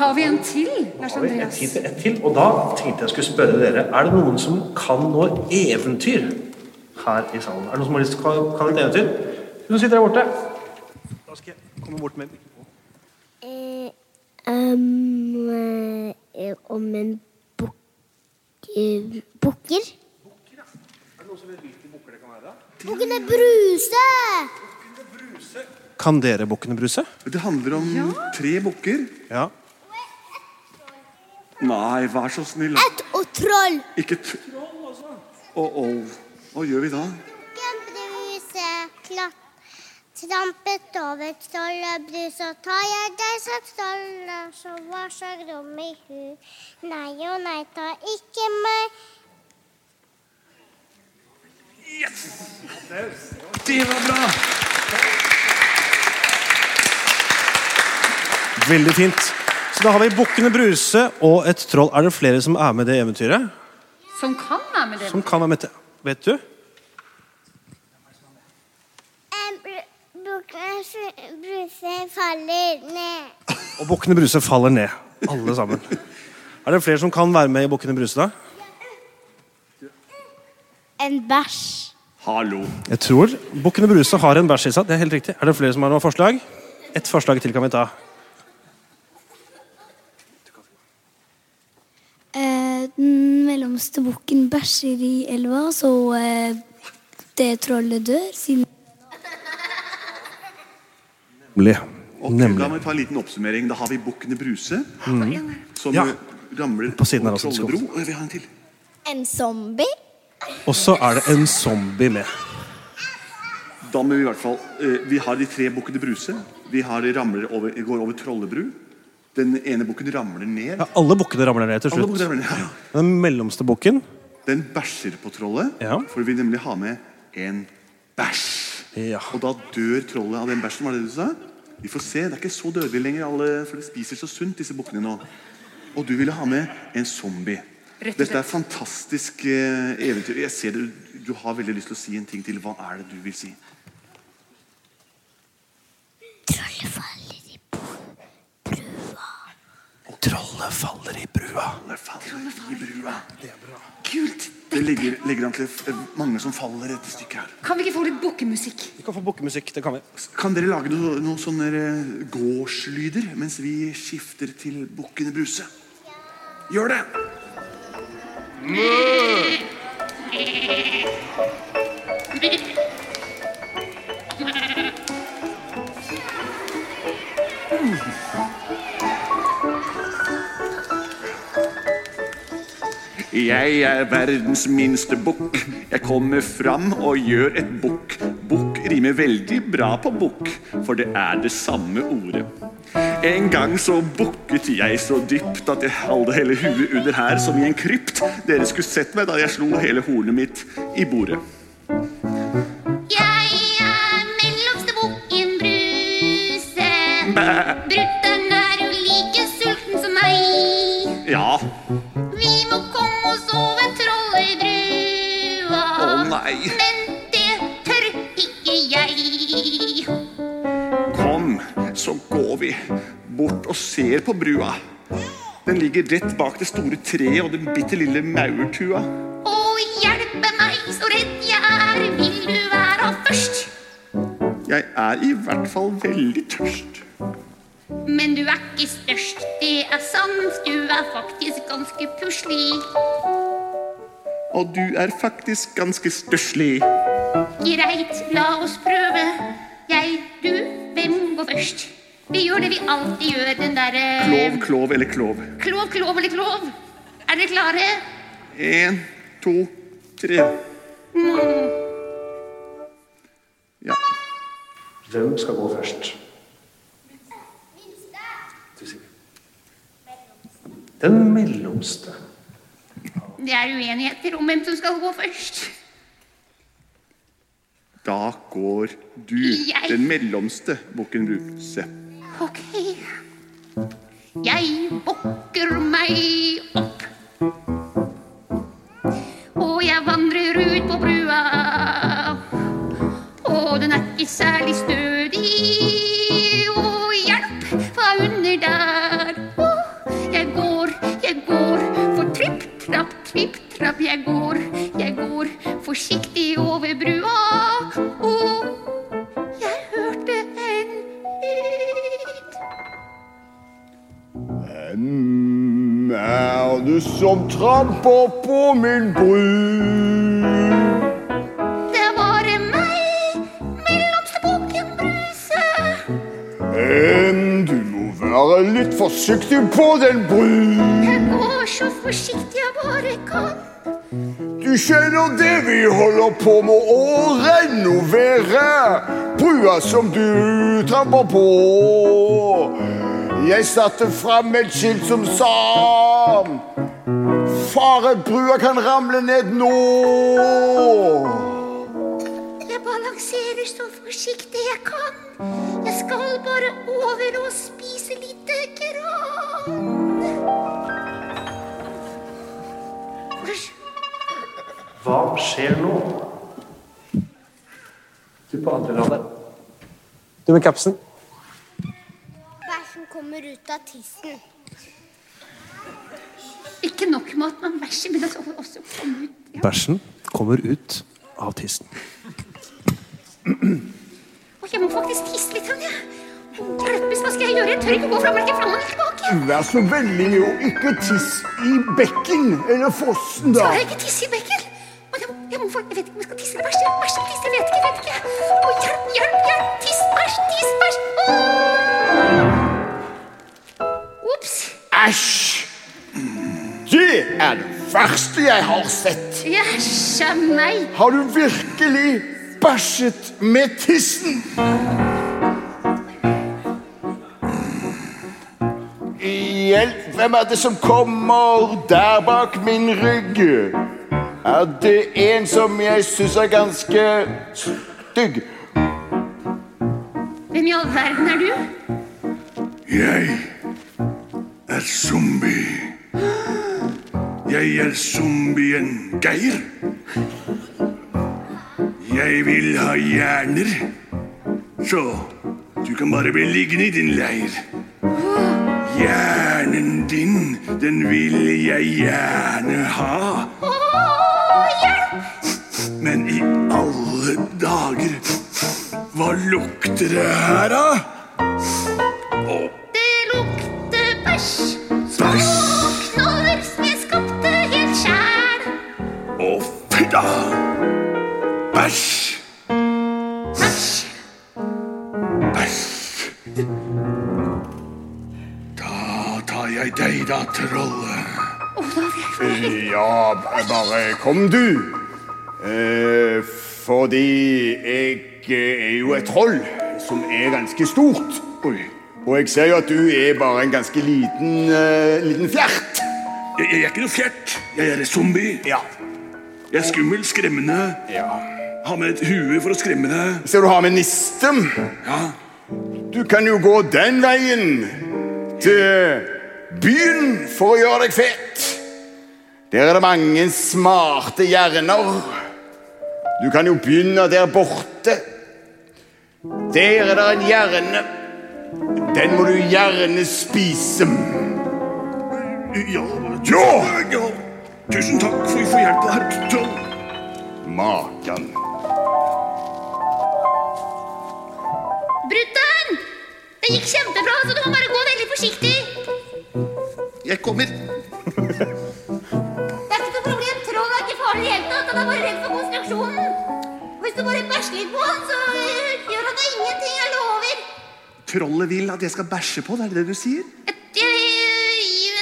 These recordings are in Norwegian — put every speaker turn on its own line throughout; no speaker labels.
Har vi en til, Lars
Har vi Et
Andreas?
tid til, et til. Og da tenkte jeg skulle spørre dere, er det noen som kan noe eventyr her i salen? Er det noen som har lyst til å ka- kan et eventyr? Hun sitter der borte. Da skal jeg komme bort med
Eh, Um, eh, om en bukk... eh, bukker? Bukkene Bruse!
Kan dere Bukkene Bruse?
Det handler om tre bukker.
Ja.
Nei, vær så snill. da.
Et og troll.
Ikke t... Å, å. Hva gjør vi da?
Bukken Bruse klatt, trampet over trollet Bruse, og tar jeg deg som trollet, så var så grom i hu. Nei og nei, ta ikke meg.
Det var bra!
Veldig fint. Så da har vi Bukkene Bruse og et troll. Er det flere som er med i det eventyret?
Som kan være med det.
Som kan være med til Vet du?
Bukken Bruse faller ned.
Og Bukkene Bruse faller ned. Alle sammen. Er det flere som kan være med i Bukkene Bruse, da?
En bæsj.
Hallo.
Jeg tror Bukkene Bruse har en bæsj i seg. Det er helt riktig. Er det flere som har noen forslag? Ett forslag til kan vi ta.
Eh, Den mellomste bukken bæsjer i elva, så eh, det trollet dør. Siden
Nemlig. Mm.
Ok, Da må vi ta en liten oppsummering. Da har vi Bukkene Bruse, som
Ja.
eh, ramler
På siden her
over
også, skal vi
Trollebro. Og jeg vil ha en til.
En zombie?
Og så er det en zombie med.
Da må vi i hvert fall eh, Vi har de tre Bukkene Bruse. Vi har de ramler over, går over Trollebru. Den ene bukken ramler ned.
Ja, alle bukkene ramler ned til
Alle bukkene
slutt.
ramler ned. Ja.
Den mellomste bukken.
Den bæsjer på trollet,
Ja.
for vi vil nemlig ha med en bæsj.
Ja.
Og da dør trollet av den bæsjen, var det det du sa? Vi får se, det er ikke så dødelig lenger, alle, for de spiser så sunt, disse bukkene nå. Og du ville ha med en zombie.
Rett og slett.
Dette er fantastisk eh, eventyr. Jeg ser det, du har veldig lyst til å si en ting til. Hva er det du vil si?
Trollet faller i
Trollet faller i brua.
Alle faller i brua.
Kult!
Det legger, legger an til eh, mange som faller etter stykket her.
Kan vi ikke få litt bukkemusikk?
Vi kan få bukkemusikk. Det kan vi.
Kan dere lage noe- noen sånne eh, gårdslyder mens vi skifter til Bukkene Bruse? Gjør det! Jeg er verdens minste bukk. Jeg kommer fram og gjør et bukk. Bukk rimer veldig bra på bukk, for det er det samme ordet. En gang så bukket jeg så dypt at jeg hadde hele huet under her som i en krypt. Dere skulle sett meg da jeg slo hele hornet mitt i bordet.
Jeg er mellomste bukken Bruse. Brutter'n er jo like sulten som meg.
Ja.
Vi må komme oss over trollet i brua.
Å nei.
Men det tør ikke jeg.
Kom, så går vi bort og ser på brua. Den ligger rett bak det store treet og den bitte lille maurtua.
Å, hjelpe meg, så redd jeg er. Vil du være først?
Jeg er i hvert fall veldig tørst.
Men du er ikke størst, det er sant. Du er faktisk ganske puslig.
Og du er faktisk ganske stusslig.
Greit, la oss prøve. Jeg, du, hvem går først? Vi gjør det vi alltid gjør, den derre
Klov, klov eller klov.
klov, klov eller klov. Er dere klare?
Én, to, tre. Ja.
Hvem skal gå først? Den mellomste.
Det er uenigheter om hvem som skal gå først.
Da går du,
Jeg-
den mellomste bukken Bruse.
Ok. Jeg bukker meg opp. Og jeg vandrer ut på brua. Og den er ikke særlig stødig. Og hjelp fra under der. Åh, jeg går, jeg går for tripp, trapp, tripp, trapp. Jeg går, jeg går forsiktig over brua. Og jeg hørte en lyd.
Hvem er du som tramper på min bru?
Det var meg, mellomste bukken Bruse.
Em, du må være litt forsiktig på den bru.
Jeg går så forsiktig jeg bare kan.
Du kjenner det vi holder på med å renovere brua som du tramper på. Jeg satte fram et skilt som sa Farebrua kan ramle ned nå.
Jeg balanserer så forsiktig jeg kan. Jeg skal bare over og spise lite gran. Usch.
Hva skjer nå? Du på andre radet. Du med kapsen.
Bæsjen kommer ut av tissen.
Ikke nok med at man bæsjer, men det skal også komme ut. Ja.
Bæsjen kommer ut av tissen.
Og jeg må faktisk tisse litt. Anja. Hjelpes, hva skal jeg gjøre? Jeg tør ikke gå fram og ikke fram og ikke tilbake.
Vær så vennlig å ikke tisse i bekken eller fossen, da.
Skal jeg ikke tisse i bekken? Å, Jeg, må- jeg, må, få- jeg vet ikke om jeg skal tisse eller bæsje. Bæsje, tisse, jeg vet ikke. jeg vet ikke. Å, hjelp, hjelp, hjelp! Tiss, bæsj, tiss, bæsj! Å! Ops.
Æsj! Det er det verste jeg har sett.
Jæsja meg.
Har du virkelig bæsjet med tissen? Hjelp, hvem er det som kommer der bak min rygg? Er det en som jeg syns er ganske stygg?
Hvem i all verden er du?
Jeg er zombie. Jeg er zombien Geir. Jeg vil ha hjerner, så du kan bare bli liggende i din leir. Hjernen din, den vil jeg gjerne ha.
Å, hjelp!
Men i alle dager, hva lukter det her, da?
Det lukter bæsj.
Bæsj!
Knoller som jeg skapte helt sjæl.
Å, fy da! Bæsj!
Bæsj.
Bæsj! Da tar jeg deg, da, trollet.
Å, da vil jeg
Ja, b- bare kom du. Eh, fordi jeg eh, er jo et troll som er ganske stort.
Oi.
Og jeg ser jo at du er bare en ganske liten, eh, liten fjert.
Jeg, jeg er ikke noe fjert. Jeg er en zombie.
Ja.
Jeg er skummel, skremmende.
ja.
Har med et hue for å skremme deg.
Ser du har med nisten.
Ja.
Du kan jo gå den veien til byen for å gjøre deg fet. Der er det mange smarte hjerner. Du kan jo begynne der borte. Der er det en hjerne. Den må du gjerne spise.
Ja! ja. ja. Tusen takk for, for hjelpa her, troll.
Maken.
Brutter'n! Det gikk kjempebra, så du må bare gå veldig forsiktig.
Jeg kommer.
Det er ikke noe problem. Troll er ikke farlig i det hele tatt. Han er bare redd for konstruksjonen. Hvis du bare bæsjer litt på han, så eh, gjør han deg ingenting. Jeg lover.
Trollet vil at jeg skal bæsje på, det er det du sier?
Et- eh,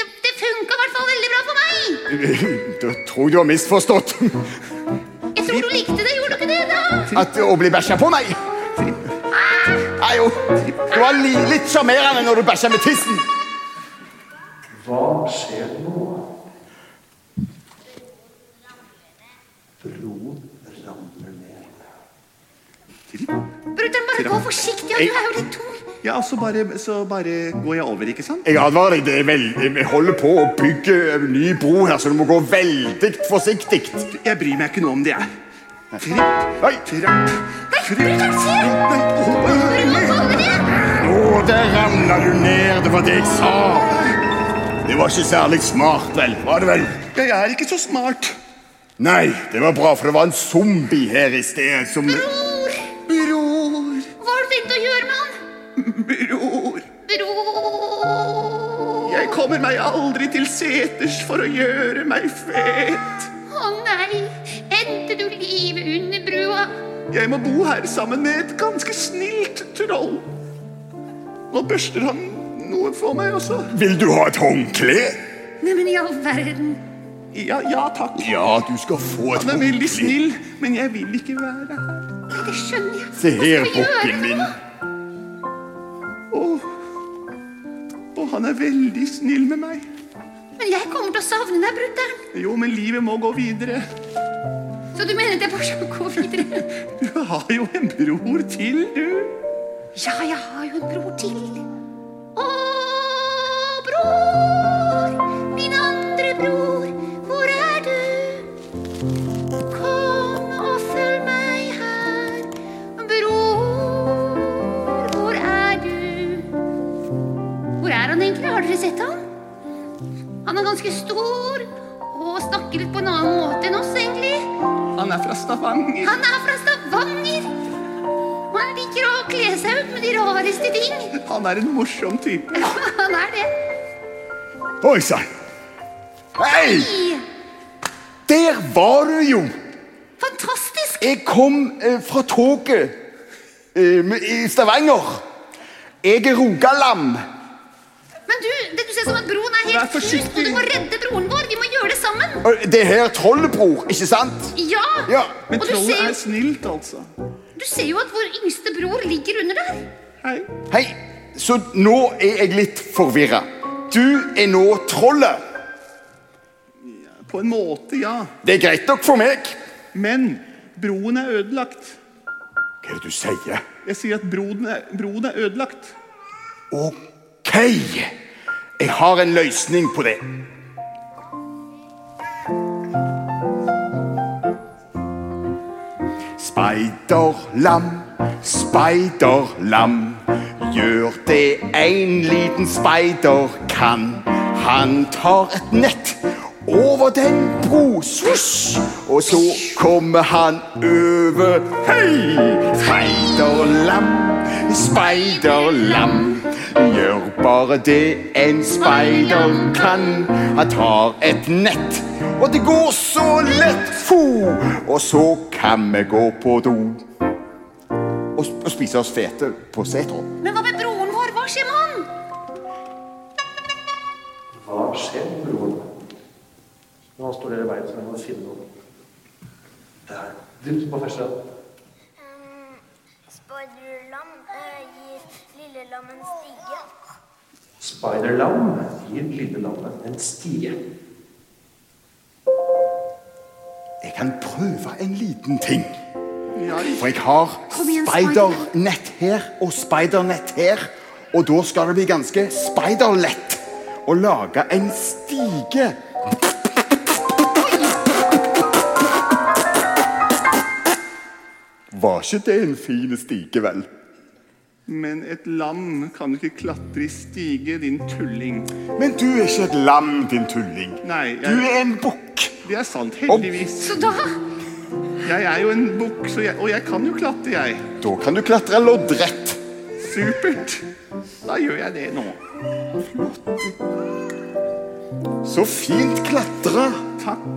Det, det funka i hvert fall veldig bra for meg.
Da tror jeg du har misforstått
Jeg tror du likte det. Gjorde du ikke det, da?
at å bli bæsja på, nei. Nei, jo. Det var li litt sjarmerende når du bæsja med tissen.
Hva skjer nå? Broen ramler ned.
Brutter'n, bare gå forsiktig, og du er jo litt tung.
Ja, så bare, så bare går jeg over, ikke sant?
Jeg advarer deg, det er vel- vi holder på å bygge en ny bro her, så du må gå veldig forsiktig.
Jeg bryr meg ikke noe om det er. Tripp,
Oi.
trapp, tripp
Brutter'n, se!
Nei,
Du
å,
må komme ned!
Å, der ramla du ned. Det var det jeg sa. Det var ikke særlig smart, vel? Var det vel?
Jeg er ikke så smart.
Nei, det var bra, for det var en zombie her i sted som
Bror,
Bror,
hva har du tenkt å gjøre med han?
bror.
Bror
Jeg kommer meg aldri til seters for å gjøre meg fet.
Å nei, endte du livet under brua?
Jeg må bo her sammen med et ganske snilt troll. Nå børster han noe for meg også.
Vil du ha et håndkle?
Neimen, i all verden.
Ja, ja takk.
Ja, du skal få et
Han er veldig
håndkle.
snill, men jeg vil ikke være her.
Nei, det skjønner jeg.
Se her,
Hva skal jeg
bukken
gjøre?
min.
Og, og han er veldig snill med meg.
Men jeg kommer til å savne deg, brutter'n.
Jo, men livet må gå videre.
Så du mener at jeg bare skal gå videre?
Du har jo en bror til, du.
Ja, jeg har jo en bror til. Å, bror, min andre bror, hvor er du? Kom og følg meg her. Bror, hvor er du? Hvor er han egentlig? Har dere sett han? Han er ganske stor og snakker litt på en annen måte enn oss, egentlig.
Han er fra Stavanger.
Han er fra Stavanger. Og han liker å kle seg ut med de rareste ting.
Han er en morsom type.
Han er det.
Oi sann. Hei!
I,
Der var du jo!
fantastisk.
Jeg kom eh, fra toget eh, med- i Stavanger. Jeg er rogalam.
Men du, det du ser som at broen er
Vær
helt knust,
forsiktig.
og du må redde broren vår. Vi må gjøre det sammen.
Og Det her er trollebror, ikke sant?
Ja.
Ja,
Men
og du ser,
trollet er
jo-
snilt, altså.
du ser jo at vår yngste bror ligger under der.
Hei.
Hei, så nå er jeg litt forvirra. Du er nå trollet.
På en måte, ja.
Det er greit nok for meg.
Men broen er ødelagt.
Hva er det du sier?
Jeg sier at broen er, broen er ødelagt.
Ok, jeg har en løsning på det. Speiderlam, speiderlam, gjør det en liten speider kan. Han tar et nett over den bro, svosj, og så kommer han over. Hei, speiderlam, speiderlam, gjør bare det en speider kan. Han tar et nett, og det går så lett, fo, og så kan vi gå på do. Og, sp- og spise oss fete på setra.
Men hva med broren vår? Hva skjer med han?
Hva skjer med broren? Når han står der i veien, så må han finne noen. Der. Du som var første.
Speiderlam
eh,
gir lille lam en stige.
Spiderlam gir lille lammet en stige.
Jeg kan prøve en liten ting.
Ja,
For jeg har
Kom igjen,
speidernett her og speidernett her. Og da skal det bli ganske speiderlett å lage en stige. Var ikke det en fin stige, vel?
Men et lam kan ikke klatre i stige, din tulling.
Men du er ikke et lam, din tulling.
Nei, jeg-
Du er en bukk.
Det er sant, heldigvis.
Så da
Jeg er jo en bukk, så jeg- og jeg kan jo klatre, jeg.
Da kan du klatre loddrett.
Supert. Da gjør jeg det nå.
Så fint klatre.
Takk.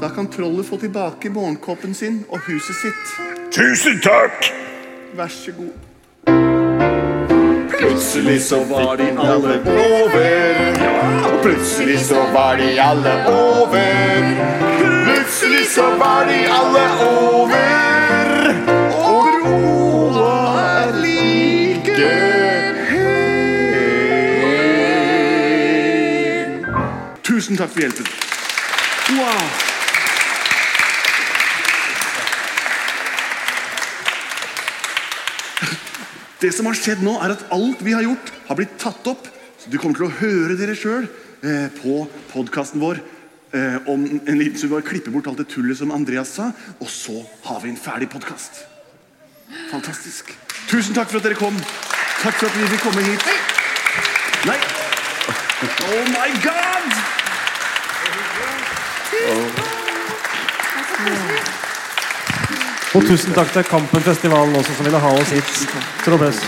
Da kan trollet få tilbake morgenkåpen sin og huset sitt.
Tusen takk!
Vær så god.
Plutselig så var de alle over. Og plutselig så var de alle over. Plutselig så var de alle over. Og broa er like høy.
Tusen Tusen takk for hjelpen. Wow. Det som har skjedd nå, er at alt vi har gjort, har blitt tatt opp. Så du kommer til å høre dere sjøl eh, på podkasten vår eh, om en liten stund. Vi bare klipper bort alt det tullet som Andreas sa, og så har vi en ferdig podkast. Fantastisk. Tusen takk for at dere kom. Takk for at vi fikk komme hit. Nei Oh my God!
Og tusen takk til Kampenfestivalen også, som ville ha oss hit. Trobes.